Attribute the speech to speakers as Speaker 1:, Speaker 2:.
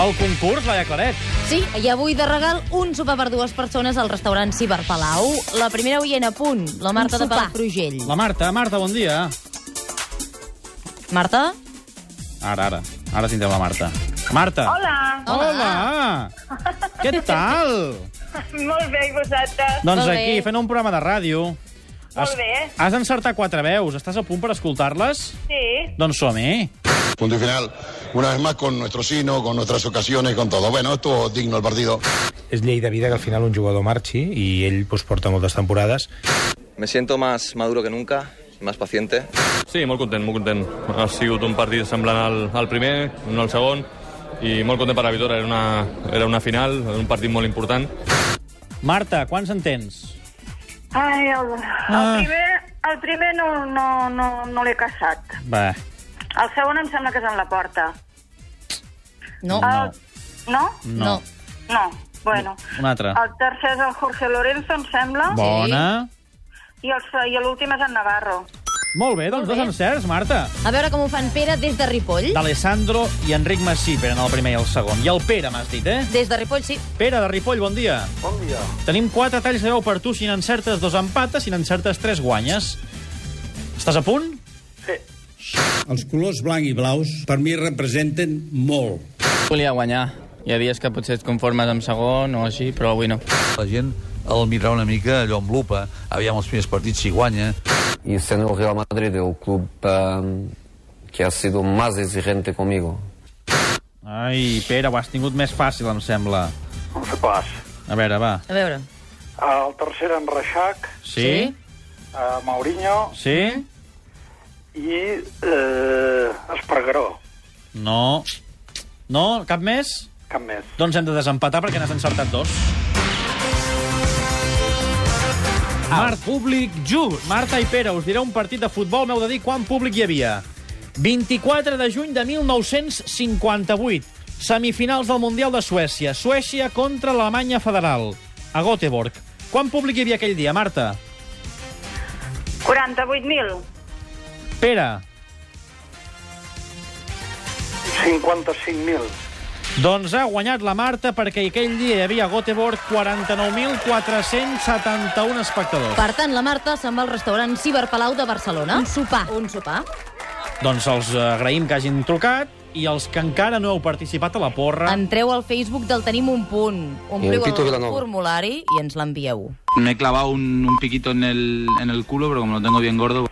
Speaker 1: El concurs, Laia Claret.
Speaker 2: Sí, i avui de regal un sopar per dues persones al restaurant Ciber Palau. La primera oient a punt, la Marta
Speaker 3: Un
Speaker 2: de
Speaker 3: sopar.
Speaker 2: Palafrugell.
Speaker 1: La Marta. Marta, bon dia.
Speaker 2: Marta?
Speaker 1: Ara, ara. Ara tindrem la Marta. Marta.
Speaker 4: Hola,
Speaker 1: Hola. Què tal?
Speaker 4: molt bé, i vosaltres?
Speaker 1: doncs
Speaker 2: Molt bé.
Speaker 1: aquí, fent un programa de ràdio. Has,
Speaker 4: bé.
Speaker 1: has d'encertar quatre veus. Estàs a punt per escoltar-les?
Speaker 4: Sí.
Speaker 1: Doncs som-hi.
Speaker 5: Punto y final, una vez más con nuestro sino, con nuestras ocasiones, con todo. Bueno, estuvo digno el partido.
Speaker 6: És llei de vida que al final un jugador marxi i ell doncs, porta moltes temporades.
Speaker 7: Me siento más maduro que nunca, más paciente.
Speaker 8: Sí, molt content, molt content. Ha sigut un partit semblant al, al primer, no al segon, i molt content per la victòria. Era una, era una final, un partit molt important.
Speaker 1: Marta, quants en tens?
Speaker 4: Ai, el, el
Speaker 1: Ah.
Speaker 4: primer, el primer no, no, no, no l'he caçat.
Speaker 1: Bé,
Speaker 4: El segon em sembla que és en la porta.
Speaker 2: No.
Speaker 4: El, no?
Speaker 1: Oh, no.
Speaker 2: No.
Speaker 4: No. Bueno.
Speaker 1: Un altre.
Speaker 4: El tercer és el Jorge Lorenzo, em sembla, bon.
Speaker 1: Bona.
Speaker 4: i el- i l'últim és en Navarro.
Speaker 1: Molt bé, doncs
Speaker 2: Molt bé.
Speaker 1: dos encerts, Marta.
Speaker 2: A veure com ho fan Pere des de Ripoll.
Speaker 1: D'Alessandro i Enric Massí eren el primer i el segon. I el Pere, m'has dit, eh?
Speaker 2: Des de Ripoll, sí.
Speaker 1: Pere, de Ripoll, bon dia. Bon dia. Tenim quatre talls de veu per tu. Si n'encertes dos empates, si n'encertes tres guanyes. Estàs a punt?
Speaker 9: Els colors blanc i blaus per mi representen molt.
Speaker 10: Volia guanyar. Hi ha dies que potser et conformes amb segon o així, però avui no.
Speaker 11: La gent el mirarà una mica allò amb lupa. Aviam els primers partits si guanya.
Speaker 10: Y siendo el Real Madrid el club eh, que ha sido más exigente conmigo.
Speaker 1: Ai, Pere, ho has tingut més fàcil, em sembla.
Speaker 9: No sé pas.
Speaker 1: A veure, va.
Speaker 2: A veure.
Speaker 9: El tercer en Reixac,
Speaker 1: Sí?
Speaker 9: eh, Maurinho
Speaker 1: Sí? sí?
Speaker 9: i eh, Espargaró,
Speaker 1: No. No? Cap més?
Speaker 9: cap més.
Speaker 1: Doncs hem de desempatar perquè n'has encertat dos. Mar públic just. Marta i Pere, us diré un partit de futbol, m'heu de dir quan públic hi havia. 24 de juny de 1958, semifinals del Mundial de Suècia. Suècia contra l'Alemanya Federal, a Göteborg. Quan públic hi havia aquell dia, Marta?
Speaker 4: 48.000.
Speaker 1: Pere?
Speaker 9: 55.000.
Speaker 1: Doncs ha guanyat la Marta perquè aquell dia hi havia a Göteborg 49.471 espectadors.
Speaker 2: Per tant, la Marta se'n va al restaurant Ciber Palau de Barcelona. Un sopar. Un sopar.
Speaker 1: Doncs els agraïm que hagin trucat i els que encara no heu participat a la porra...
Speaker 2: Entreu al Facebook del Tenim Ah. un punt. Ompliu
Speaker 10: Tito
Speaker 2: el
Speaker 10: Vilanova.
Speaker 2: formulari i ens l'envieu.
Speaker 10: Me he clavado un, un piquito en el, en el culo, pero como lo tengo bien gordo...